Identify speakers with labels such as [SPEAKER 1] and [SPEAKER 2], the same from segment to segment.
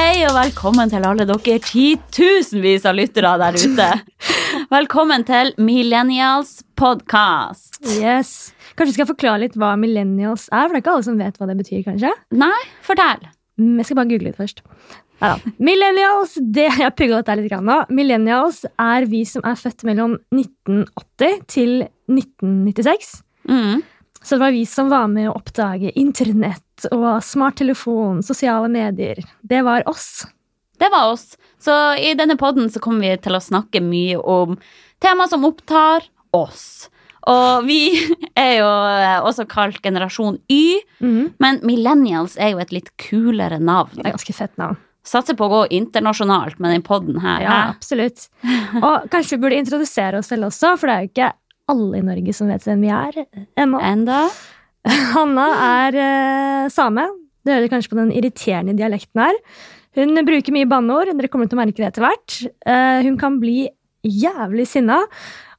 [SPEAKER 1] velkommen til alle dere titusenvis av lyttere der ute. Velkommen til Millennials podkast.
[SPEAKER 2] Yes. Kanskje skal jeg forklare litt hva millennials er, for det er ikke alle som vet hva det betyr, kanskje?
[SPEAKER 1] Nei, fortell.
[SPEAKER 2] Mm, Jeg skal bare google litt først. Neida. Millennials det, jeg pugget dette litt grann nå. Millennials er vi som er født mellom 1980 til 1996.
[SPEAKER 1] Mm.
[SPEAKER 2] Så det var vi som var med å oppdage internett og smarttelefon, sosiale medier. Det var oss.
[SPEAKER 1] Det var oss. Så i denne podden så kommer vi til å snakke mye om tema som opptar oss. Og vi er jo eh, også kalt generasjon Y, men millennials er jo et litt kulere navn.
[SPEAKER 2] Det Mm, er ganske fett navn.
[SPEAKER 1] Satser på å gå internasjonalt med den podden her.
[SPEAKER 2] Ja, absolutt. Og kanskje vi burde introdusere oss selv også, for det er jo ikke alle i Norge som vet hvem vi er ennå.
[SPEAKER 1] Enda.
[SPEAKER 2] Hanna er eh, same. Du hører kanskje på den irriterende dialekten her. Hun bruker mye banneord, dere kommer til å merke det etter hvert. Eh, hun kan bli jævlig sinna.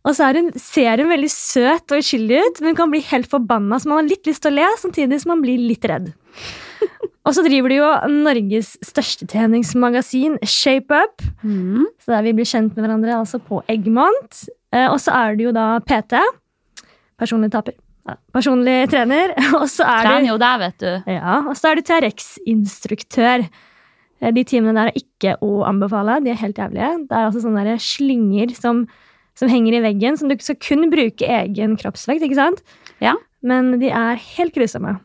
[SPEAKER 2] Og så er hun, ser hun veldig søt og uskyldig ut, men hun kan bli helt forbanna, så man har litt lyst til å le, samtidig som man blir litt redd. Og så driver de jo Norges største treningsmagasin, ShapeUp.
[SPEAKER 1] Mm.
[SPEAKER 2] Så der vi blir kjent med hverandre altså på Eggmont. Eh, og så er det jo da PT. Personlig taper. Ja, Personlig trener. Og så er det
[SPEAKER 1] Trener jo deg, vet du.
[SPEAKER 2] ja, og så er du TRX-instruktør. Eh, De timene der er ikke å anbefale. De er helt jævlige. Det er altså sånne der slynger som, som henger i veggen, som du ikke skal kun bruke egen kroppsvekt, ikke sant?
[SPEAKER 1] Ja.
[SPEAKER 2] Men de er helt grusomme.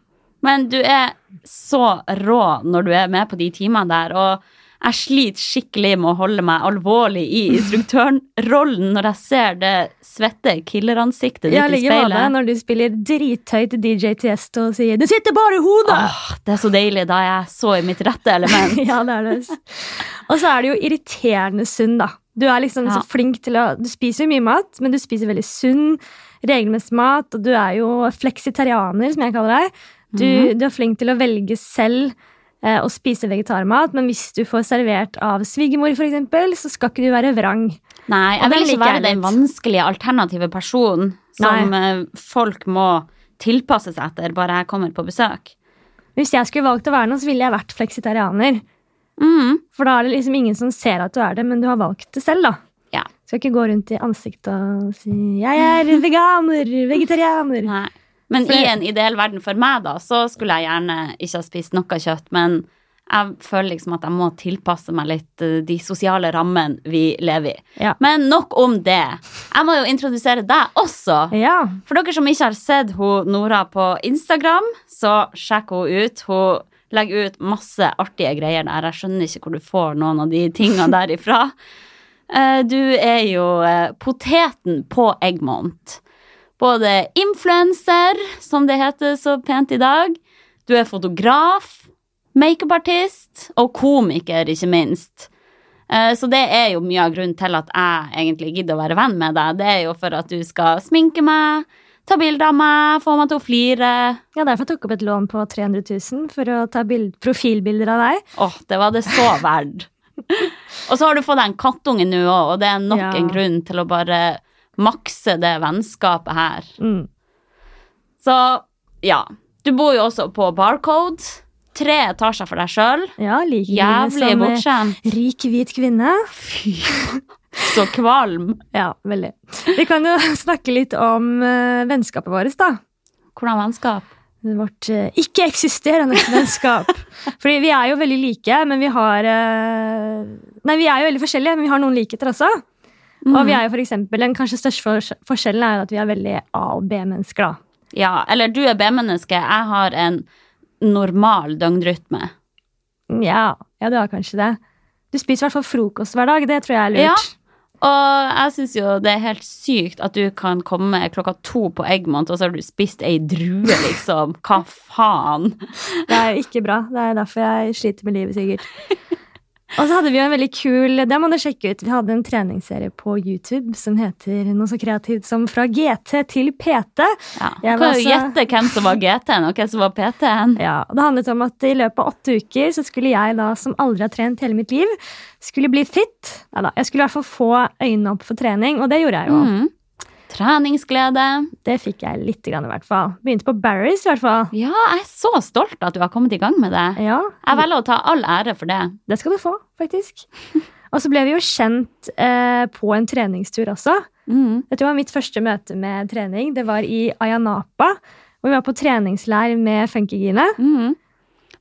[SPEAKER 1] Men du er så rå når du er med på de timene der, og jeg sliter skikkelig med å holde meg alvorlig i instruktørrollen når jeg ser det svette killeransiktet ditt
[SPEAKER 2] Jeg
[SPEAKER 1] i
[SPEAKER 2] ligger med deg
[SPEAKER 1] speilet.
[SPEAKER 2] når du spiller drithøyt DJ Tiesto og sier 'Du sitter bare i hodet!'
[SPEAKER 1] Åh, det er så deilig da jeg er så i mitt rette element.
[SPEAKER 2] ja, det er det. ass. Og så er det jo irriterende sunn, da. Du er liksom
[SPEAKER 1] Ja.
[SPEAKER 2] så flink til å Du spiser jo mye mat, men du spiser veldig sunn, regelmessig mat, og du er jo fleksitarianer, som jeg kaller deg. Du, du er flink til å velge selv eh, å spise vegetarmat, men hvis du får servert av svigermor, for eksempel, så skal ikke du være vrang.
[SPEAKER 1] Nei,
[SPEAKER 2] Og
[SPEAKER 1] jeg vil
[SPEAKER 2] det
[SPEAKER 1] ikke
[SPEAKER 2] liker jeg
[SPEAKER 1] være den
[SPEAKER 2] litt.
[SPEAKER 1] vanskelige alternative personen som eh, folk må tilpasse seg etter bare jeg kommer på besøk.
[SPEAKER 2] Hvis jeg skulle valgt å være noe, så ville jeg vært fleksitarianer.
[SPEAKER 1] Mm.
[SPEAKER 2] For da er det liksom ingen som ser at du er det, men du har valgt det selv, da.
[SPEAKER 1] Ja.
[SPEAKER 2] Skal ikke gå rundt i ansiktet og si 'jeg er veganer, vegetarianer'.
[SPEAKER 1] Nei. Men
[SPEAKER 2] For-
[SPEAKER 1] i en ideell verden for meg, da, så skulle jeg gjerne ikke ha spist noe kjøtt. Men jeg føler liksom at jeg må tilpasse meg litt eh, de sosiale rammene vi lever i.
[SPEAKER 2] Ja.
[SPEAKER 1] Men nok om det. Jeg må jo introdusere deg også.
[SPEAKER 2] Ja.
[SPEAKER 1] For dere som ikke har sett hun Nora på Instagram, så sjekk hun ut. Hun legger ut masse artige greier der. Jeg skjønner ikke hvor du får noen av de tingene derifra. Eh, Du er jo eh, poteten på Eggmont. Både influenser, som det heter så pent i dag, du er fotograf, makeupartist og komiker, ikke minst. Eh, Så det er jo mye av grunnen til at jeg egentlig gidder å være venn med deg. Det er jo for at du skal sminke meg, ta bilder av meg, få meg til å flire.
[SPEAKER 2] ja, derfor tok jeg opp et lån på 300 000 for å ta bild profilbilder av deg.
[SPEAKER 1] Åh, det var det så verd. og så har du fått deg en kattunge nå òg, og det er nok
[SPEAKER 2] Ja.
[SPEAKER 1] en grunn til å bare makse det vennskapet her.
[SPEAKER 2] Mm.
[SPEAKER 1] Så ja. Du bor jo også på Barcode. Tre etasjer for deg sjøl.
[SPEAKER 2] Ja, like livet
[SPEAKER 1] Jævlig
[SPEAKER 2] som, eh,
[SPEAKER 1] bortskjemt.
[SPEAKER 2] Rik, hvit kvinne.
[SPEAKER 1] Så kvalm.
[SPEAKER 2] Ja, veldig. Vi kan jo snakke litt om eh, vennskapet vårt, da.
[SPEAKER 1] Hvordan vennskap?
[SPEAKER 2] Vårt eh, ikke-eksisterende vennskap. Fordi vi er jo veldig like, men vi har eh, Nei, vi er jo veldig forskjellige, men vi har noen likheter også.
[SPEAKER 1] Mm.
[SPEAKER 2] Og
[SPEAKER 1] Mhm.
[SPEAKER 2] vi er jo for eksempel, Den kanskje største fors- forskjellen er jo at vi er veldig A- og B-mennesker. da.
[SPEAKER 1] Ja, eller du er B-menneske, jeg har en normal døgnrytme.
[SPEAKER 2] Ja, ja, du har kanskje det. Du spiser i hvert fall frokost hver dag. Det tror jeg er
[SPEAKER 1] Ja.
[SPEAKER 2] lurt.
[SPEAKER 1] Og jeg syns jo det er helt sykt at du kan komme klokka to på Eggmont, og så har du spist ei drue, liksom. Hva faen?
[SPEAKER 2] Det er jo ikke bra. Det er derfor jeg sliter med livet, sikkert. Og så hadde vi jo en veldig kul Det må du sjekke ut. Vi hadde en treningsserie på YouTube som heter noe så kreativt som Fra GT til PT.
[SPEAKER 1] Ja.
[SPEAKER 2] Jeg
[SPEAKER 1] Jeg
[SPEAKER 2] var
[SPEAKER 1] kan jo
[SPEAKER 2] altså-
[SPEAKER 1] gjette hvem som var GT-en, og hvem som var PT-en.
[SPEAKER 2] Ja, og Det handlet om at i løpet av åtte uker så skulle jeg, da, som aldri har trent hele mitt liv, skulle bli fit. Neida, jeg skulle i hvert fall få øynene opp for trening, og det gjorde jeg jo.
[SPEAKER 1] Mm. Treningsglede.
[SPEAKER 2] Det fikk jeg litt, grann, i hvert fall. Begynte på Barry's, i hvert fall.
[SPEAKER 1] Ja, jeg er så stolt at du har kommet i gang med det.
[SPEAKER 2] Ja,
[SPEAKER 1] Jeg velger å ta all ære for det.
[SPEAKER 2] det skal du få. faktisk. Og så ble vi jo kjent eh, på en treningstur også.
[SPEAKER 1] Mm.
[SPEAKER 2] Dette var mitt første møte med trening. Det var i Ayanapa. Og vi var på treningsleir med Funkygine.
[SPEAKER 1] Mm.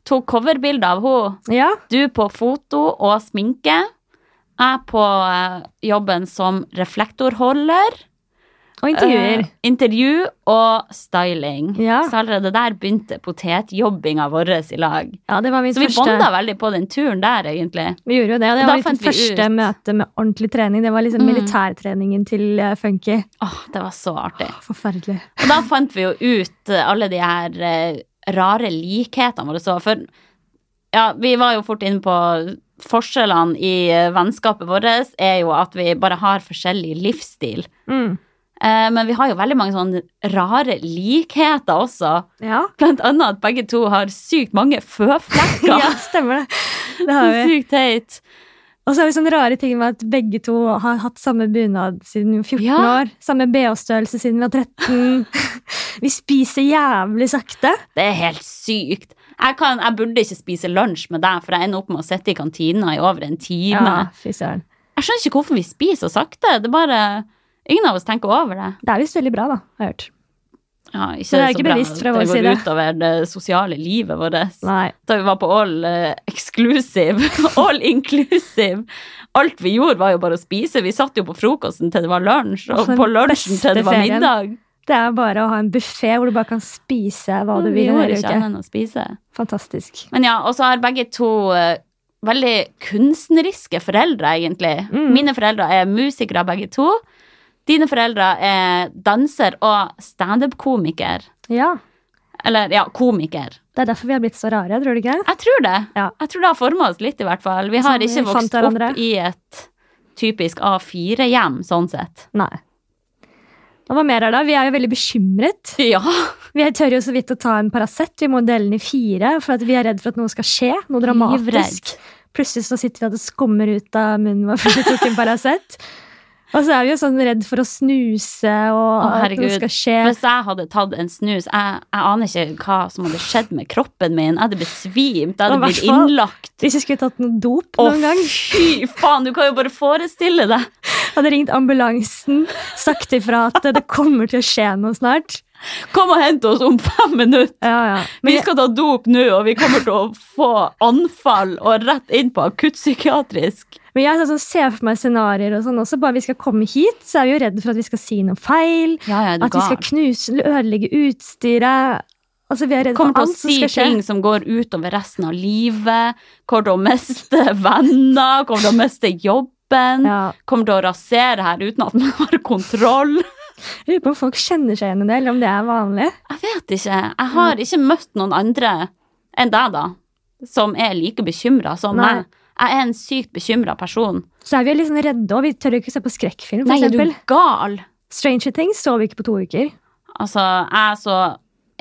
[SPEAKER 1] Tok coverbilde av henne.
[SPEAKER 2] Ja,
[SPEAKER 1] Du på foto og sminke. Jeg på eh, jobben som reflektorholder.
[SPEAKER 2] og intervjuer.
[SPEAKER 1] Eh, intervju og styling.
[SPEAKER 2] Ja.
[SPEAKER 1] Så allerede der begynte potetjobbinga vår i lag.
[SPEAKER 2] Ja, det var mitt
[SPEAKER 1] Så vi
[SPEAKER 2] første...
[SPEAKER 1] bonda veldig på den turen der, egentlig.
[SPEAKER 2] Vi gjorde jo det, og
[SPEAKER 1] Og
[SPEAKER 2] det
[SPEAKER 1] da
[SPEAKER 2] var mitt
[SPEAKER 1] fant vi
[SPEAKER 2] første
[SPEAKER 1] ut.
[SPEAKER 2] møte med ordentlig trening. Det var liksom
[SPEAKER 1] Mm.
[SPEAKER 2] militærtreningen til eh, Funky.
[SPEAKER 1] Åh, det var så artig.
[SPEAKER 2] Forferdelig.
[SPEAKER 1] Og da fant vi jo ut eh, alle de her eh, rare likhetene våre. Så for ja, vi var jo fort inne på forskjellene i eh, vennskapet vårt er jo at vi bare har forskjellig livsstil.
[SPEAKER 2] Mm.
[SPEAKER 1] Eh, Men vi har jo veldig mange sånne rare likheter også.
[SPEAKER 2] Ja.
[SPEAKER 1] Blant annet at begge to har sykt mange
[SPEAKER 2] ja,
[SPEAKER 1] føflekker.
[SPEAKER 2] stemmer det. Det har vi.
[SPEAKER 1] sykt teit.
[SPEAKER 2] Og så har vi sånne rare ting med at begge to har hatt samme bunad siden vi var 14
[SPEAKER 1] Ja.
[SPEAKER 2] år. Samme BH-størrelse siden vi var 13. vi spiser jævlig sakte.
[SPEAKER 1] Det er helt sykt. Jeg, kan, jeg burde ikke spise lunsj med deg, for jeg ender opp med å sitte i kantina i over en time.
[SPEAKER 2] fy søren.
[SPEAKER 1] Jeg skjønner ikke hvorfor vi spiser så sakte. Det er bare Ingen av oss tenker over det.
[SPEAKER 2] Det er visst veldig bra, da, har jeg hørt.
[SPEAKER 1] Ja, ikke
[SPEAKER 2] Så det er
[SPEAKER 1] så
[SPEAKER 2] ikke
[SPEAKER 1] bra
[SPEAKER 2] bevisst fra
[SPEAKER 1] at
[SPEAKER 2] vår
[SPEAKER 1] Det
[SPEAKER 2] side.
[SPEAKER 1] går utover det sosiale livet vårt.
[SPEAKER 2] Nei.
[SPEAKER 1] Da vi var på all eh, exclusive, all inclusive Alt vi gjorde, var jo bare å spise. Vi satt jo på frokosten til det var lunsj,
[SPEAKER 2] Åh,
[SPEAKER 1] og
[SPEAKER 2] den
[SPEAKER 1] på lunsjen til
[SPEAKER 2] beste
[SPEAKER 1] det var
[SPEAKER 2] ferien.
[SPEAKER 1] middag.
[SPEAKER 2] Det er bare å ha en buffé hvor du bare kan spise hva du
[SPEAKER 1] Mm, vi
[SPEAKER 2] vil.
[SPEAKER 1] gjorde
[SPEAKER 2] Hele
[SPEAKER 1] ikke
[SPEAKER 2] uke.
[SPEAKER 1] annet enn å spise.
[SPEAKER 2] Fantastisk.
[SPEAKER 1] Men ja, og så har begge to eh, veldig kunstneriske foreldre, egentlig.
[SPEAKER 2] Mm.
[SPEAKER 1] Mine foreldre er musikere, begge to. Dine foreldre er danser og standup-komiker.
[SPEAKER 2] Ja.
[SPEAKER 1] Eller, ja, komiker.
[SPEAKER 2] Det er derfor vi har blitt så rare, tror du ikke?
[SPEAKER 1] Jeg tror det.
[SPEAKER 2] Ja.
[SPEAKER 1] Jeg tror det har forma oss litt, i hvert fall. Vi har
[SPEAKER 2] Sånn, vi
[SPEAKER 1] ikke vokst
[SPEAKER 2] fant hverandre.
[SPEAKER 1] opp i et typisk A4-hjem, sånn sett.
[SPEAKER 2] Nei. Og hva mer er det? Vi er jo veldig bekymret.
[SPEAKER 1] Ja.
[SPEAKER 2] Vi tør jo så vidt å ta en Paracet. Vi må dele den i fire, for at vi er redd for at noe skal skje. Noe dramatisk.
[SPEAKER 1] Livredd.
[SPEAKER 2] Plutselig så sitter vi og det skummer ut av munnen vår fordi vi tok en Paracet. Og så er vi jo sånn redd for å snuse og
[SPEAKER 1] Å,
[SPEAKER 2] at noe
[SPEAKER 1] herregud.
[SPEAKER 2] skal skje.
[SPEAKER 1] Hvis jeg hadde tatt en snus Jeg, jeg aner ikke hva som hadde skjedd med kroppen min. Jeg hadde besvimt. Jeg hadde
[SPEAKER 2] Og i
[SPEAKER 1] blitt
[SPEAKER 2] hvert fall-
[SPEAKER 1] innlagt.
[SPEAKER 2] Hvis vi skulle tatt noe dop
[SPEAKER 1] Å,
[SPEAKER 2] noen gang,
[SPEAKER 1] fy faen! Du kan jo bare forestille deg.
[SPEAKER 2] hadde ringt ambulansen, sagt ifra at det kommer til å skje noe snart.
[SPEAKER 1] Kom og hent oss om fem minutter!
[SPEAKER 2] Ja, ja.
[SPEAKER 1] vi skal ta dop nå, og vi kommer til å få anfall og rett inn på akuttpsykiatrisk.
[SPEAKER 2] Men jeg er sånn, som ser for meg scenarioer og sånn også. Bare vi skal komme hit, så er vi jo redd for at vi skal si noe feil.
[SPEAKER 1] Ja, ja,
[SPEAKER 2] At vi skal knuse, ødelegge utstyret. Altså, vi er redd
[SPEAKER 1] Kommer til å
[SPEAKER 2] for alt som
[SPEAKER 1] si
[SPEAKER 2] skal skje.
[SPEAKER 1] ting som går utover resten av livet. Kommer til å miste venner, kommer til å miste jobben.
[SPEAKER 2] Ja.
[SPEAKER 1] Kommer til å rasere her uten at man har kontroll.
[SPEAKER 2] Jeg lurer på om folk kjenner seg igjen i det, eller om det er vanlig.
[SPEAKER 1] Jeg vet ikke. Jeg
[SPEAKER 2] Mm.
[SPEAKER 1] har ikke møtt noen andre enn deg, da, som er like bekymra som
[SPEAKER 2] Nei.
[SPEAKER 1] meg. Jeg er en sykt bekymra person.
[SPEAKER 2] Så er vi jo liksom redde, og vi tør jo ikke se på skrekkfilm, for
[SPEAKER 1] Nei, er du
[SPEAKER 2] eksempel.
[SPEAKER 1] gal?
[SPEAKER 2] Stranger Things så vi ikke på to uker.
[SPEAKER 1] Altså, jeg så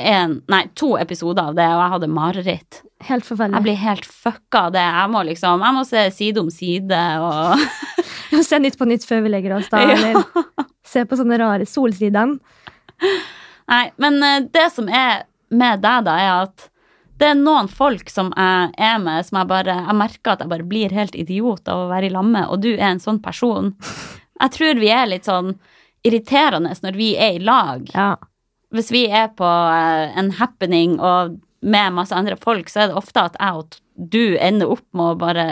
[SPEAKER 1] en, nei, to episoder av det, og jeg hadde mareritt.
[SPEAKER 2] Helt
[SPEAKER 1] Jeg
[SPEAKER 2] forferdelig.
[SPEAKER 1] blir helt fucka av det. Jeg må liksom, jeg må se side om side og
[SPEAKER 2] Vi må se Nytt på Nytt før vi legger oss, da.
[SPEAKER 1] Ja.
[SPEAKER 2] Eller se på sånne rare Solsidan.
[SPEAKER 1] Nei, men eh, det som er med deg, da, er at det er noen folk som jeg er med, som jeg bare Jeg merker at jeg bare blir helt idiot av å være i lag med, og du er en sånn person. Jeg tror vi er litt sånn irriterende når vi er i lag.
[SPEAKER 2] Ja.
[SPEAKER 1] Hvis vi er på eh, en happening og med masse andre folk, så er det ofte at jeg og t- du ender opp med å bare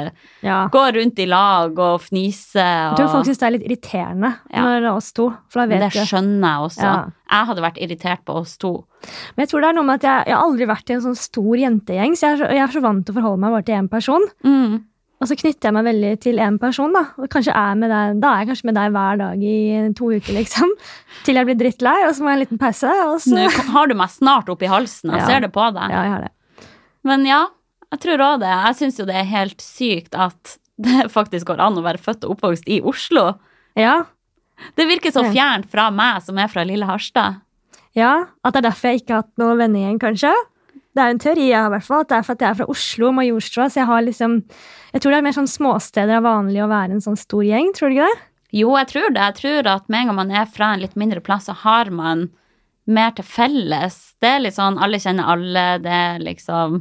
[SPEAKER 2] ja.
[SPEAKER 1] gå rundt i lag og fnise
[SPEAKER 2] Jeg
[SPEAKER 1] og
[SPEAKER 2] tror folk syns det er litt irriterende
[SPEAKER 1] Ja.
[SPEAKER 2] når det er oss to. For da
[SPEAKER 1] Men
[SPEAKER 2] vet
[SPEAKER 1] Det
[SPEAKER 2] jeg.
[SPEAKER 1] skjønner jeg også.
[SPEAKER 2] Ja.
[SPEAKER 1] Jeg hadde vært irritert på oss to.
[SPEAKER 2] Men jeg tror det er noe med at jeg, jeg har aldri vært i en sånn stor jentegjeng, så jeg er så, jeg er så vant til å forholde meg bare til én person.
[SPEAKER 1] Mm.
[SPEAKER 2] Og så knytter jeg meg veldig til én person, da. Og kanskje er med deg, da er jeg kanskje med deg hver dag i to uker, liksom. Til jeg blir drittlei, og så må jeg ha en liten pause. Og så
[SPEAKER 1] Nå kom- har du meg snart oppi halsen. Jeg
[SPEAKER 2] Ja.
[SPEAKER 1] ser det på deg.
[SPEAKER 2] Ja, jeg har det.
[SPEAKER 1] Men ja, jeg tror òg det. Jeg syns jo det er helt sykt at det faktisk går an å være født og oppvokst i Oslo.
[SPEAKER 2] Ja,
[SPEAKER 1] Det virker så
[SPEAKER 2] Ja.
[SPEAKER 1] fjernt fra meg som er fra lille Harstad.
[SPEAKER 2] ja. At det er derfor jeg ikke har hatt noen vennegjeng, kanskje. Det er en teori jeg har, i hvert fall. At det er for at jeg er fra Oslo, Majorstua, så jeg har liksom Jeg tror det er mer sånn småsteder er vanlig å være en sånn stor gjeng, tror du ikke det?
[SPEAKER 1] Jo, jeg tror det. Jeg tror at med en gang man er fra en litt mindre plass, så har man mer til felles. Det er litt sånn alle kjenner alle, det er liksom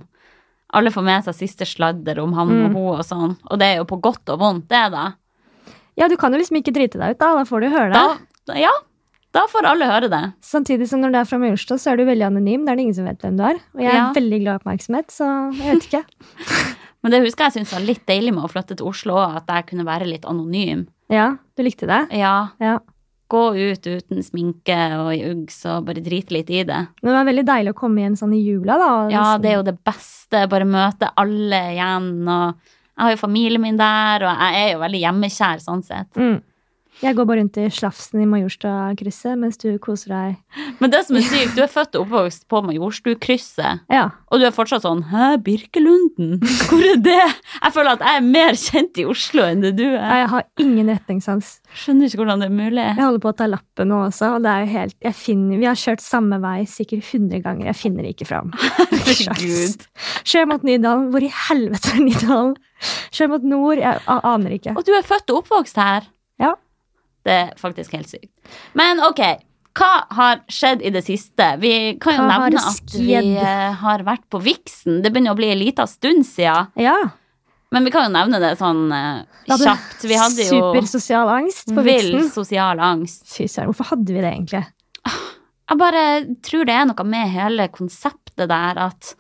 [SPEAKER 1] Alle får med seg siste sladder om han og
[SPEAKER 2] Mm.
[SPEAKER 1] hun og sånn. Og det er jo på godt og vondt, det, da.
[SPEAKER 2] Ja, du kan jo liksom ikke drite deg ut, da. Da får du høre det.
[SPEAKER 1] da, da ja, da får alle høre det.
[SPEAKER 2] Samtidig som når du er fra Maurstad, så er du veldig anonym. Da er det ingen som vet hvem du er. Og jeg er
[SPEAKER 1] Ja.
[SPEAKER 2] veldig glad i oppmerksomhet, så jeg vet ikke.
[SPEAKER 1] Men det husker jeg syntes var litt deilig med å flytte til Oslo, at jeg kunne være litt anonym.
[SPEAKER 2] Ja, du likte det?
[SPEAKER 1] Ja,
[SPEAKER 2] Ja.
[SPEAKER 1] gå ut uten sminke og i Uggs og bare drite litt i det.
[SPEAKER 2] Men det var veldig deilig å komme igjen sånn i jula, da. og
[SPEAKER 1] Ja,
[SPEAKER 2] liksom-
[SPEAKER 1] det er jo det beste. Bare møte alle igjen. Og jeg har jo familien min der, og jeg er jo veldig hjemmekjær sånn sett.
[SPEAKER 2] Mm. Jeg går bare rundt i slafsen i Majorstad-krysset mens du koser deg.
[SPEAKER 1] Men det som er sykt, du er født og oppvokst på Majorstukrysset,
[SPEAKER 2] Ja.
[SPEAKER 1] og du er fortsatt sånn Hæ, Birkelunden? Hvor er det? Jeg føler at jeg er mer kjent i Oslo enn det du er.
[SPEAKER 2] Jeg har ingen retningssans.
[SPEAKER 1] Skjønner ikke hvordan det er mulig.
[SPEAKER 2] Jeg holder på å ta lappen nå også, og det er jo helt jeg finner, Vi har kjørt samme vei sikkert 100 ganger. Jeg finner ikke fram.
[SPEAKER 1] Herregud.
[SPEAKER 2] Kjør mot Nydalen. Hvor i helvete er Nydalen? Kjør mot nord. Jeg a- aner ikke.
[SPEAKER 1] Og du er født og oppvokst her.
[SPEAKER 2] Ja.
[SPEAKER 1] Det er faktisk helt sykt. Men ok, hva har skjedd i det siste? Vi kan jo
[SPEAKER 2] Hva har
[SPEAKER 1] nevne at vi
[SPEAKER 2] skjedd?
[SPEAKER 1] eh, har vært på Viksen. Det begynner å bli en liten stund siden.
[SPEAKER 2] Ja.
[SPEAKER 1] Men vi kan jo nevne det sånn eh,
[SPEAKER 2] Da hadde
[SPEAKER 1] kjapt. Vi hadde jo
[SPEAKER 2] Supersosial angst på
[SPEAKER 1] vill
[SPEAKER 2] Vixen.
[SPEAKER 1] sosial angst.
[SPEAKER 2] Fy søren, hvorfor hadde vi det egentlig?
[SPEAKER 1] Jeg bare tror det er noe med hele konseptet der at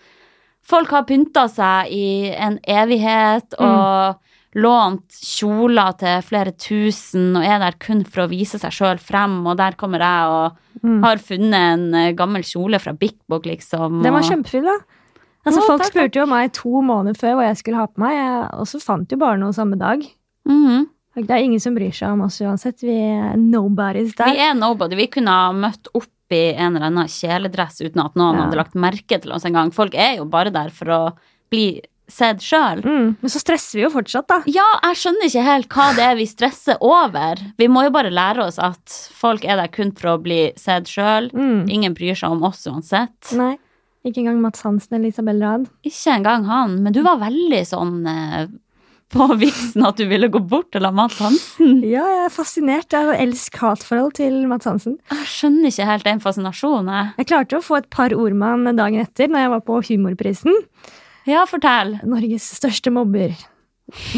[SPEAKER 1] folk har pynta seg i en evighet
[SPEAKER 2] Mm.
[SPEAKER 1] og lånt kjoler til flere tusen og er der kun for å vise seg sjøl frem, og der kommer jeg og
[SPEAKER 2] Mm.
[SPEAKER 1] har funnet en eh, gammel kjole fra Big Bog, liksom.
[SPEAKER 2] Den var
[SPEAKER 1] og-
[SPEAKER 2] kjempefin, da. Altså,
[SPEAKER 1] Å,
[SPEAKER 2] folk
[SPEAKER 1] takk,
[SPEAKER 2] spurte jo meg to måneder før hva jeg skulle ha på meg, jeg- og så fant jo bare noe samme dag.
[SPEAKER 1] Mhm.
[SPEAKER 2] Det er ingen som bryr seg om oss uansett. Vi er nobodies der.
[SPEAKER 1] Vi er nobody. Vi kunne ha møtt opp i en eller annen kjeledress uten at noen
[SPEAKER 2] Ja.
[SPEAKER 1] hadde lagt merke til oss engang. Folk er jo bare der for å bli sett sjøl.
[SPEAKER 2] Mm. Men så stresser vi jo fortsatt, da.
[SPEAKER 1] Ja, jeg skjønner ikke helt hva det er vi stresser over. Vi må jo bare lære oss at folk er der kun for å bli sett sjøl.
[SPEAKER 2] Mm.
[SPEAKER 1] Ingen bryr seg om oss uansett.
[SPEAKER 2] Nei. Ikke engang Mats Hansen eller Isabel Rad.
[SPEAKER 1] Ikke engang han, men du var veldig sånn eh, på viksen at du ville gå bort til han Mads Hansen.
[SPEAKER 2] Ja, jeg er fascinert. Jeg har elsk-hat-forhold til Mats Hansen.
[SPEAKER 1] Jeg skjønner ikke helt den fascinasjonen, jeg.
[SPEAKER 2] Jeg klarte å få et par ordmann dagen etter når jeg var på Humorprisen.
[SPEAKER 1] Ja, fortell.
[SPEAKER 2] Norges største mobber.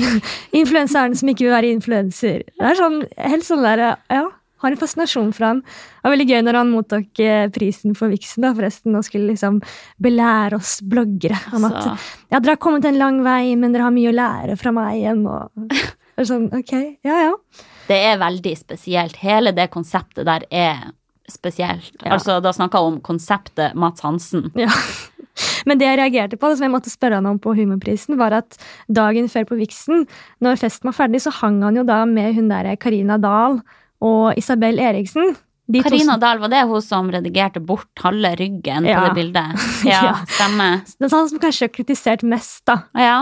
[SPEAKER 2] Influenseren som ikke vil være influenser. Det er sånn, helt sånn der, ja, har en fascinasjon for han. Det var veldig gøy når han mottok eh, prisen for Vixen da, forresten, og skulle liksom belære oss bloggere om at
[SPEAKER 1] Så,
[SPEAKER 2] ja, dere har kommet en lang vei, men dere har mye å lære fra meg igjen. Og det er sånn, ok, ja, ja.
[SPEAKER 1] det er veldig spesielt. Hele det konseptet der er spesielt.
[SPEAKER 2] Ja.
[SPEAKER 1] Altså, da snakker jeg om konseptet Mads Hansen.
[SPEAKER 2] ja. Men det jeg reagerte på, som jeg måtte spørre han om på Humorprisen, var at dagen før på Vixen, når festen var ferdig, så hang han jo da med hun derre Karina Dahl og Isabel Eriksen. De to
[SPEAKER 1] Karina Dahl, var det hun som redigerte bort halve ryggen
[SPEAKER 2] Ja.
[SPEAKER 1] på det bildet? Ja,
[SPEAKER 2] Ja.
[SPEAKER 1] stemmer.
[SPEAKER 2] som- det er han som kanskje har kritisert mest, da.
[SPEAKER 1] Ja.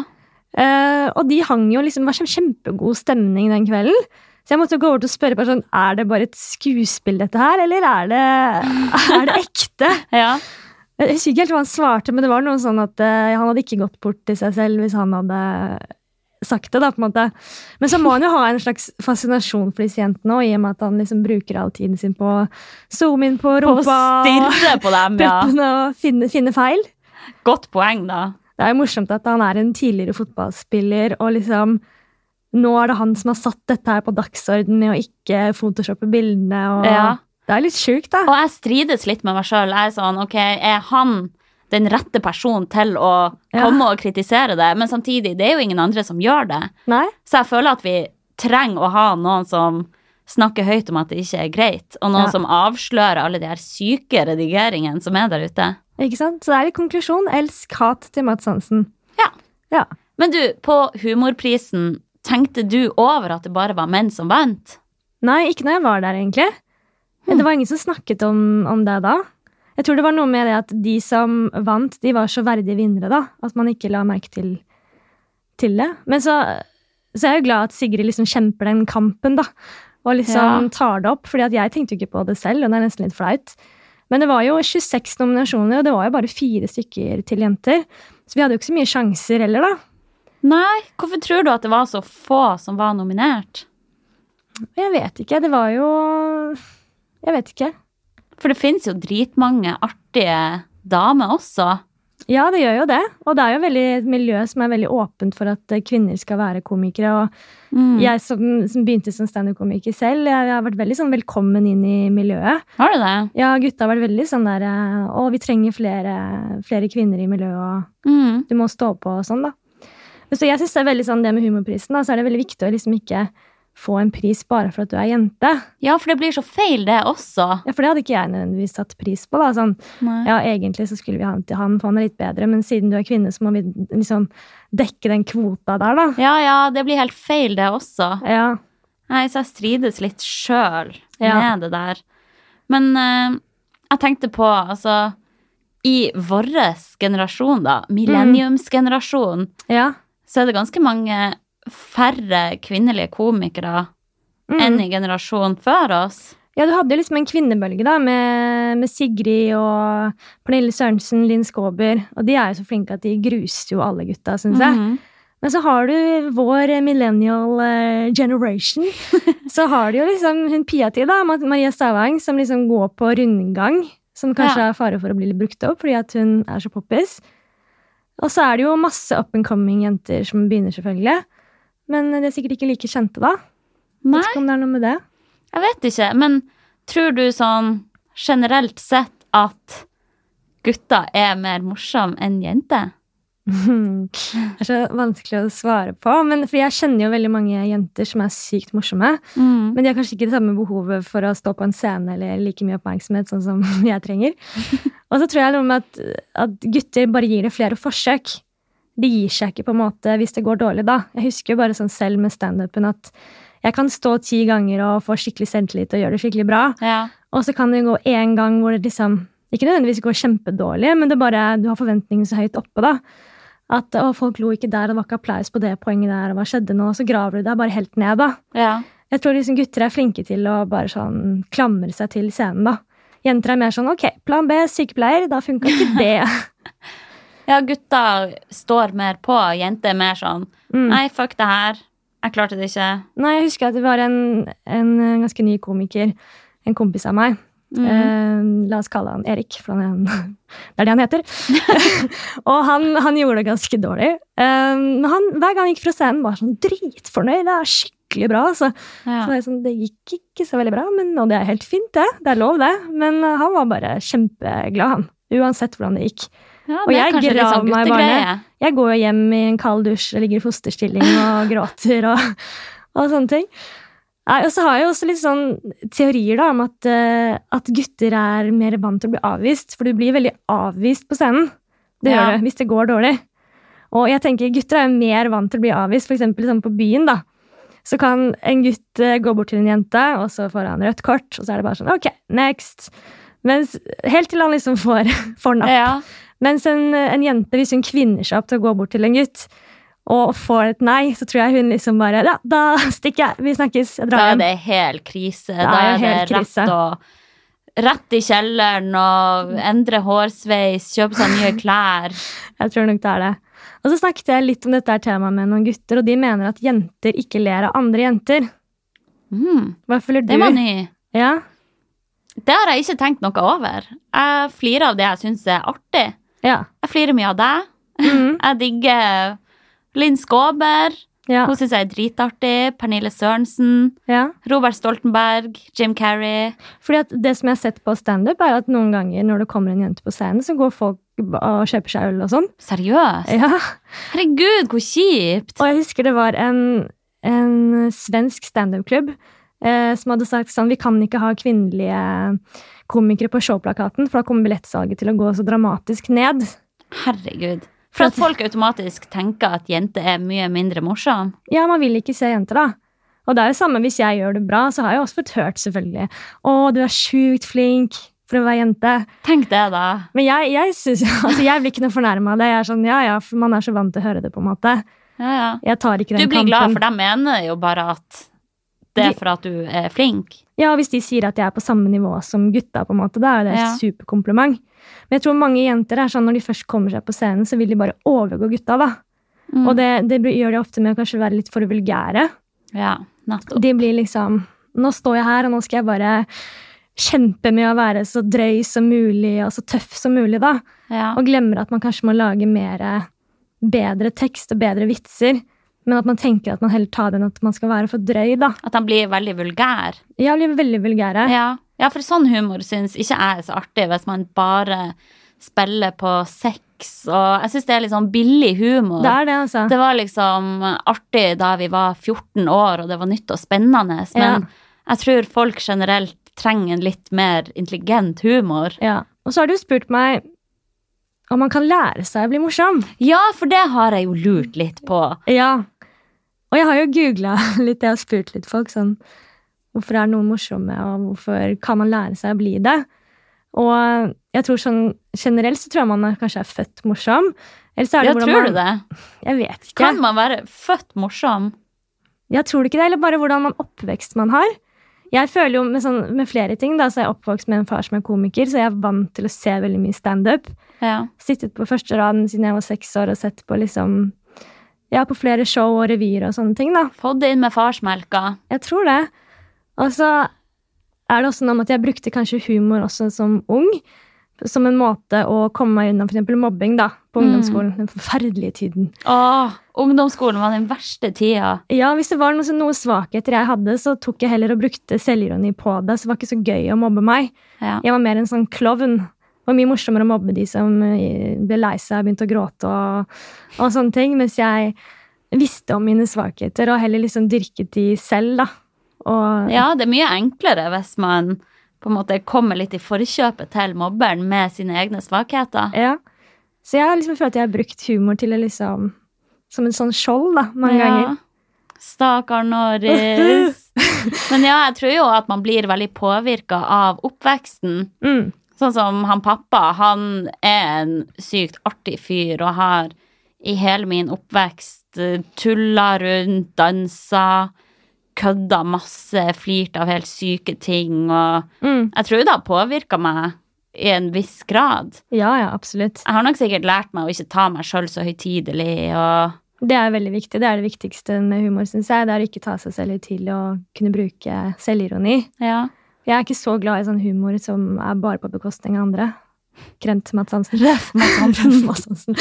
[SPEAKER 2] Eh, og de hang jo liksom, det var sånn kjempegod stemning den kvelden. Så jeg måtte jo gå over til å spørre bare sånn, er det bare et skuespill dette her, eller er det, er det ekte?
[SPEAKER 1] ja.
[SPEAKER 2] Jeg husker ikke helt hva han svarte, men det var noe sånn at eh, han hadde ikke gått bort til seg selv hvis han hadde sagt det, da, på en måte. Men så må han jo ha en slags fascinasjon for disse jentene òg, i og med at han liksom bruker all tiden sin på å zoome inn på
[SPEAKER 1] På å
[SPEAKER 2] rumpa og
[SPEAKER 1] stirre på dem, ja.
[SPEAKER 2] puppene og finne, finne feil.
[SPEAKER 1] Godt poeng, da.
[SPEAKER 2] Det er jo morsomt at han er en tidligere fotballspiller, og liksom nå er det han som har satt dette her på dagsordenen med å ikke photoshoppe bildene. Og
[SPEAKER 1] Ja.
[SPEAKER 2] Det er litt sjukt, da.
[SPEAKER 1] Og jeg strides litt med meg sjøl. Jeg er sånn, ok, er han den rette personen til å
[SPEAKER 2] Ja.
[SPEAKER 1] komme og kritisere det? Men samtidig, det er jo ingen andre som gjør det.
[SPEAKER 2] Nei?
[SPEAKER 1] Så jeg føler at vi trenger å ha noen som snakker høyt om at det ikke er greit, og noen
[SPEAKER 2] Ja.
[SPEAKER 1] som avslører alle de her syke redigeringene som er der ute.
[SPEAKER 2] Ikke sant? Så det er litt konklusjon. Elsk hat til Mads Hansen.
[SPEAKER 1] Men du, på humorprisen, tenkte du over at det bare var menn som vant?
[SPEAKER 2] Nei, ikke når jeg var der, egentlig. Men det var ingen som snakket om, om det da. Jeg tror det var noe med det at de som vant, de var så verdige vinnere, da. At man ikke la merke til, til det. Men så, så er jeg jo glad at Sigrid liksom kjemper den kampen, da. Og liksom
[SPEAKER 1] Ja.
[SPEAKER 2] tar det opp. fordi at jeg tenkte jo ikke på det selv, og det er nesten litt flaut. Men det var jo 26 nominasjoner, og det var jo bare fire stykker til jenter. Så vi hadde jo ikke så mye sjanser heller, da.
[SPEAKER 1] Nei, hvorfor tror du at det var så få som var nominert?
[SPEAKER 2] Og Jeg vet ikke. Det var jo Jeg vet ikke.
[SPEAKER 1] For det finnes jo dritmange artige damer også.
[SPEAKER 2] Ja, det gjør jo det. Og det er jo veldig, et miljø som er veldig åpent for at eh, kvinner skal være komikere. Og
[SPEAKER 1] Mm.
[SPEAKER 2] jeg som, som begynte som standup-komiker selv, jeg har vært veldig sånn velkommen inn i miljøet.
[SPEAKER 1] Har du det?
[SPEAKER 2] Ja, gutta har vært veldig sånn der eh, Å, vi trenger flere, flere kvinner i miljøet, og
[SPEAKER 1] Mm.
[SPEAKER 2] du må stå på og sånn, da. Men Så jeg synes det er veldig sånn det med humorprisen, da, så er det veldig viktig å liksom ikke få en pris bare for at du er jente.
[SPEAKER 1] Ja, for det blir så feil, det også.
[SPEAKER 2] Ja, For det hadde ikke jeg nødvendigvis satt pris på. da, sånn
[SPEAKER 1] Nei.
[SPEAKER 2] ja, egentlig så skulle vi ha den til han, for han er litt bedre, men siden du er kvinne, så må vi liksom dekke den kvota der, da.
[SPEAKER 1] Ja, ja, det blir helt feil, det også.
[SPEAKER 2] Ja,
[SPEAKER 1] Nei, så jeg strides litt sjøl
[SPEAKER 2] Ja.
[SPEAKER 1] med det der. Men eh, jeg tenkte på, altså I vår generasjon, da, millenniumsgenerasjonen,
[SPEAKER 2] ja.
[SPEAKER 1] så er det ganske mange færre kvinnelige komikere
[SPEAKER 2] Mm.
[SPEAKER 1] enn i generasjonen før oss.
[SPEAKER 2] Ja, du hadde jo liksom en kvinnebølge, da, med, med Sigrid og Pernille Sørensen, Linn Skåber, og de er jo så flinke at de gruste jo alle gutta, syns jeg.
[SPEAKER 1] Mhm.
[SPEAKER 2] Men så har du vår millennial eh, generation. Så har du jo liksom hun Pia-tid, da, Ma- Maria Stavang, som liksom går på rundgang. Som kanskje
[SPEAKER 1] Ja.
[SPEAKER 2] har fare for å bli litt brukt opp fordi at hun er så poppis. Og så er det jo masse up and coming jenter som begynner, selvfølgelig. Men de er sikkert ikke like kjente, da.
[SPEAKER 1] Nei,
[SPEAKER 2] Vet ikke om det er noe med det.
[SPEAKER 1] jeg vet ikke. Men tror du sånn generelt sett at gutter er mer morsomme enn jenter?
[SPEAKER 2] Det er så vanskelig å svare på. Men for jeg kjenner jo veldig mange jenter som er sykt morsomme.
[SPEAKER 1] Mm.
[SPEAKER 2] Men de har kanskje ikke det samme behovet for å stå på en scene eller like mye oppmerksomhet sånn som jeg trenger. Og så tror jeg noe med at, at gutter bare gir det flere forsøk. De gir seg ikke på en måte hvis det går dårlig, da. Jeg husker jo bare sånn selv med standupen at jeg kan stå ti ganger og få skikkelig selvtillit og gjøre det skikkelig bra.
[SPEAKER 1] Ja.
[SPEAKER 2] Og så kan det gå én gang hvor det liksom ikke nødvendigvis går kjempedårlig, men det er bare, du har forventningene så høyt oppe, da. At å, folk lo ikke der, det var ikke applaus på det poenget der, og hva skjedde nå? Og så graver du deg bare helt ned, da.
[SPEAKER 1] ja.
[SPEAKER 2] Jeg tror liksom gutter er flinke til å bare sånn klamre seg til scenen, da. Jenter er mer sånn ok, plan B, sykepleier, da funka ikke det.
[SPEAKER 1] Ja, gutter står mer på, jenter er mer sånn
[SPEAKER 2] Mm.
[SPEAKER 1] Nei, fuck det her. Jeg klarte det ikke.
[SPEAKER 2] Nei, jeg husker at det var en, en ganske ny komiker, en kompis av meg.
[SPEAKER 1] Mhm.
[SPEAKER 2] Eh, la oss kalle han Erik, for han er en, det er det han heter. og han, han gjorde det ganske dårlig. Eh, men han, hver gang han gikk fra scenen, var sånn dritfornøyd. Det er skikkelig bra. Altså. Så
[SPEAKER 1] Ja.
[SPEAKER 2] det, er sånn, det gikk ikke så veldig bra, men, og det er helt fint, det. Det er lov, det. Men eh, han var bare kjempeglad, han. Uansett hvordan det gikk.
[SPEAKER 1] Ja,
[SPEAKER 2] og
[SPEAKER 1] det er
[SPEAKER 2] jeg
[SPEAKER 1] kanskje litt
[SPEAKER 2] grav
[SPEAKER 1] sånn
[SPEAKER 2] meg
[SPEAKER 1] guttegreie.
[SPEAKER 2] Jeg går jo hjem i en kald dusj og ligger i fosterstilling og gråter og, og sånne ting. Nei, og så har jeg jo også litt sånn teorier da, om at, eh, at gutter er mer vant til å bli avvist. For du blir veldig avvist på scenen. Det
[SPEAKER 1] Ja.
[SPEAKER 2] gjør du hvis det går dårlig. Og jeg tenker gutter er jo mer vant til å bli avvist, f.eks. Liksom på byen. da. Så kan en gutt eh, gå bort til en jente, og så får han rødt kort, og så er det bare sånn OK, next. Mens, helt til han liksom får, får napp.
[SPEAKER 1] Ja.
[SPEAKER 2] Mens en, en jente, hvis hun kvinner seg opp til å gå bort til en gutt og får et nei, så tror jeg hun liksom bare Ja, da stikker jeg. Vi snakkes. Jeg
[SPEAKER 1] Da
[SPEAKER 2] drar
[SPEAKER 1] er
[SPEAKER 2] hjem.
[SPEAKER 1] det hel krise. Da
[SPEAKER 2] Da er
[SPEAKER 1] er det
[SPEAKER 2] helt
[SPEAKER 1] rett
[SPEAKER 2] krise.
[SPEAKER 1] og Rett i kjelleren og endre hårsveis, kjøpe seg nye klær.
[SPEAKER 2] Jeg tror nok det er det. Og så snakket jeg litt om dette her temaet med noen gutter, og de mener at jenter ikke ler av andre jenter.
[SPEAKER 1] Mm,
[SPEAKER 2] Hva føler du?
[SPEAKER 1] det var ny.
[SPEAKER 2] Ja.
[SPEAKER 1] Det har jeg ikke tenkt noe over. Jeg flirer av det jeg syns er artig.
[SPEAKER 2] Ja.
[SPEAKER 1] Jeg flirer mye av deg.
[SPEAKER 2] Mhm.
[SPEAKER 1] Jeg digger Linn Skåber.
[SPEAKER 2] ja.
[SPEAKER 1] Hun syns jeg er dritartig. Pernille Sørensen.
[SPEAKER 2] ja.
[SPEAKER 1] Robert Stoltenberg, Jim Carrey.
[SPEAKER 2] Fordi at det som jeg har sett på standup, er jo at noen ganger når det kommer en jente på scenen, så går folk og kjøper seg øl og sånn.
[SPEAKER 1] Seriøst?
[SPEAKER 2] Ja.
[SPEAKER 1] Herregud, hvor kjipt!
[SPEAKER 2] Og jeg husker det var en, en svensk standup-klubb eh, som hadde sagt sånn Vi kan ikke ha kvinnelige komikere på showplakaten, for da kommer billettsalget til å gå så dramatisk ned.
[SPEAKER 1] Herregud. For at folk automatisk tenker at jenter er mye mindre morsom.
[SPEAKER 2] Ja, man vil ikke se jenter, da. Og det er jo samme hvis jeg gjør det bra, så har jeg også fått hørt, selvfølgelig. Å, du er sjukt flink for å være jente.
[SPEAKER 1] Tenk det, da.
[SPEAKER 2] Men jeg, jeg, synes, altså, jeg blir ikke noe fornærma av det. Jeg er sånn, ja, ja, for man er så vant til å høre det, på en måte.
[SPEAKER 1] Ja, ja.
[SPEAKER 2] Jeg tar ikke
[SPEAKER 1] Du
[SPEAKER 2] den
[SPEAKER 1] blir glad,
[SPEAKER 2] kampen.
[SPEAKER 1] for de mener jo bare at det er for at du er flink.
[SPEAKER 2] Ja, og hvis de sier at jeg er på samme nivå som gutta, på en måte, da er jo det et
[SPEAKER 1] Ja.
[SPEAKER 2] superkompliment. Men jeg tror mange jenter er sånn når de først kommer seg på scenen, så vil de bare overgå gutta. da.
[SPEAKER 1] Mm.
[SPEAKER 2] Og det, det blir- gjør de ofte med å kanskje være litt for vulgære.
[SPEAKER 1] Ja, nettopp.
[SPEAKER 2] De blir liksom Nå står jeg her, og nå skal jeg bare kjemper med å være så drøy som mulig og så tøff som mulig, da.
[SPEAKER 1] Ja.
[SPEAKER 2] Og glemmer at man kanskje må lage mer eh, bedre tekst og bedre vitser. Men at man tenker at man heller tar den at man skal være for drøy, da.
[SPEAKER 1] At han blir veldig vulgær.
[SPEAKER 2] Jeg blir veldig vulgære.
[SPEAKER 1] Ja, ja for sånn humor syns ikke jeg er så artig, hvis man bare spiller på sex og Jeg syns det er litt sånn billig humor.
[SPEAKER 2] Det er det, altså.
[SPEAKER 1] Det var liksom artig da vi var 14 år, og det var nytt og spennende, men jeg tror folk generelt trenger en litt mer intelligent humor.
[SPEAKER 2] Ja. Og så har du spurt meg om man kan lære seg å bli morsom.
[SPEAKER 1] Ja, for det har jeg jo lurt litt på.
[SPEAKER 2] Ja. Og jeg har jo googla litt, jeg har spurt litt folk sånn Hvorfor er noen morsomme, og hvorfor kan man lære seg å bli det? Og jeg tror sånn generelt så tror jeg man er, kanskje er født morsom. Eller så er
[SPEAKER 1] Ja,
[SPEAKER 2] det hvordan
[SPEAKER 1] tror
[SPEAKER 2] man,
[SPEAKER 1] du det?
[SPEAKER 2] Jeg vet ikke.
[SPEAKER 1] Kan man være født morsom?
[SPEAKER 2] Jeg tror ikke det, eller bare hvordan man oppvekst man har. Jeg føler jo med, sånn, med flere ting, da, så er jeg oppvokst med en far som er komiker, så jeg er vant til å se veldig mye standup.
[SPEAKER 1] Ja.
[SPEAKER 2] Sittet på første raden siden jeg var seks år og sett på liksom Ja, på flere show og revyer og sånne ting, da.
[SPEAKER 1] Fått det inn med farsmelka.
[SPEAKER 2] Jeg tror det. Og så er det også noe med at jeg brukte kanskje humor også som ung. Som en måte å komme meg unna f.eks. mobbing da, på
[SPEAKER 1] Mm.
[SPEAKER 2] ungdomsskolen. Den forferdelige tiden.
[SPEAKER 1] Åh, ungdomsskolen var den verste tida.
[SPEAKER 2] Ja, Hvis det var noe, noen svakheter jeg hadde, så tok jeg heller og brukte selvironi på det. Så det var ikke så gøy å mobbe meg.
[SPEAKER 1] Ja.
[SPEAKER 2] Jeg var mer en sånn klovn. Det var mye morsommere å mobbe de som eh, ble lei seg, begynte å gråte og, og sånne ting. Mens jeg visste om mine svakheter og heller liksom dyrket de selv, da. Og,
[SPEAKER 1] Ja, det er mye enklere hvis man på en måte kommer litt i forkjøpet til mobberen med sine egne svakheter.
[SPEAKER 2] Ja. Så jeg har liksom følt at jeg har brukt humor til å liksom Som en sånn skjold, da, mange
[SPEAKER 1] Ja.
[SPEAKER 2] ganger.
[SPEAKER 1] Stakkar Norris. Men ja, jeg tror jo at man blir veldig påvirka av oppveksten.
[SPEAKER 2] Mm.
[SPEAKER 1] Sånn som han pappa, han er en sykt artig fyr og har i hele min oppvekst eh, tulla rundt, dansa, kødda masse, flirt av helt syke ting og
[SPEAKER 2] Mm.
[SPEAKER 1] Jeg tror det har påvirka meg i en viss grad.
[SPEAKER 2] Ja, ja, absolutt.
[SPEAKER 1] Jeg har nok sikkert lært meg å ikke ta meg sjøl så høytidelig og
[SPEAKER 2] Det er veldig viktig. Det er det viktigste med humor, syns jeg. Det er å ikke ta seg selv høytidelig og kunne bruke selvironi.
[SPEAKER 1] Ja.
[SPEAKER 2] Jeg er ikke så glad i sånn humor som er bare på bekostning av andre. Krent Mads Hansen.
[SPEAKER 1] Røff meg sånn.
[SPEAKER 2] Røff Mads Hansen.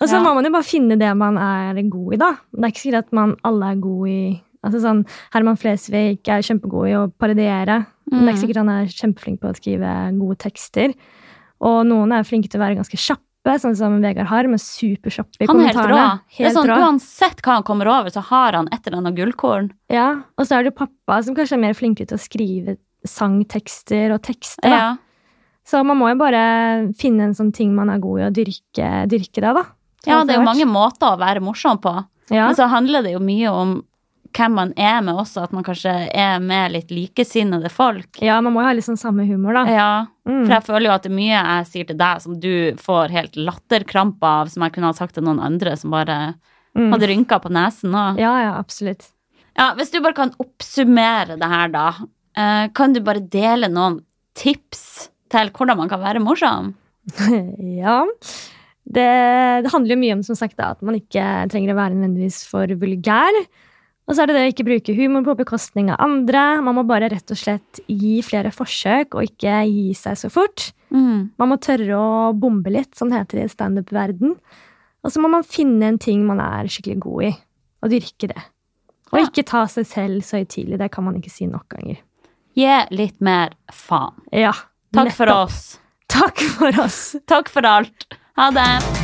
[SPEAKER 2] Og så
[SPEAKER 1] Ja.
[SPEAKER 2] må man jo bare finne det man er god i, da. Det er ikke sikkert at man alle er god i Altså sånn, Herman Flesvig er kjempegod i å parodiere. Men det
[SPEAKER 1] Mm.
[SPEAKER 2] er ikke sikkert han er kjempeflink på å skrive gode tekster. Og noen er flinke til å være ganske kjappe, sånn som Vegard Harm. er Superkjapp i
[SPEAKER 1] Han er helt rå.
[SPEAKER 2] kommentarene.
[SPEAKER 1] det er sånn,
[SPEAKER 2] rå.
[SPEAKER 1] Uansett hva han kommer over, så har han et eller annet gullkorn.
[SPEAKER 2] Ja. Og så er det jo pappa, som kanskje er mer flinkere til å skrive sangtekster og tekster. Da.
[SPEAKER 1] Ja.
[SPEAKER 2] Så man må jo bare finne en sånn ting man er god i, og dyrke, dyrke det, da.
[SPEAKER 1] ja, det er jo mange måter å være morsom på.
[SPEAKER 2] Ja.
[SPEAKER 1] Men så handler det jo mye om hvem man er med også, at man kanskje er med litt likesinnede folk.
[SPEAKER 2] ja, man må jo ha litt sånn samme humor, da.
[SPEAKER 1] Ja,
[SPEAKER 2] Mm.
[SPEAKER 1] for jeg føler jo at det er mye jeg sier til deg som du får helt latterkrampe av, som jeg kunne ha sagt til noen andre som bare
[SPEAKER 2] Mm.
[SPEAKER 1] hadde rynker på nesen òg.
[SPEAKER 2] Ja, ja, absolutt.
[SPEAKER 1] Ja, hvis du bare kan oppsummere det her, da. eh, Kan du bare dele noen tips til hvordan man kan være morsom?
[SPEAKER 2] ja. Det, det handler jo mye om som sagt, da, at man ikke trenger å være nødvendigvis for vulgær. Og så er det det å ikke bruke humor på bekostning av andre. Man må bare rett og slett gi flere forsøk og ikke gi seg så fort.
[SPEAKER 1] Mm.
[SPEAKER 2] Man må tørre å bombe litt, som det heter i standup-verden. Og så må man finne en ting man er skikkelig god i, og dyrke det. Og
[SPEAKER 1] Ja.
[SPEAKER 2] ikke ta seg selv så høytidelig. Det kan man ikke si nok ganger.
[SPEAKER 1] Gi litt mer faen.
[SPEAKER 2] Ja,
[SPEAKER 1] Takk for
[SPEAKER 2] nettopp.
[SPEAKER 1] oss.
[SPEAKER 2] Takk for oss.
[SPEAKER 1] Takk for alt. Ha det.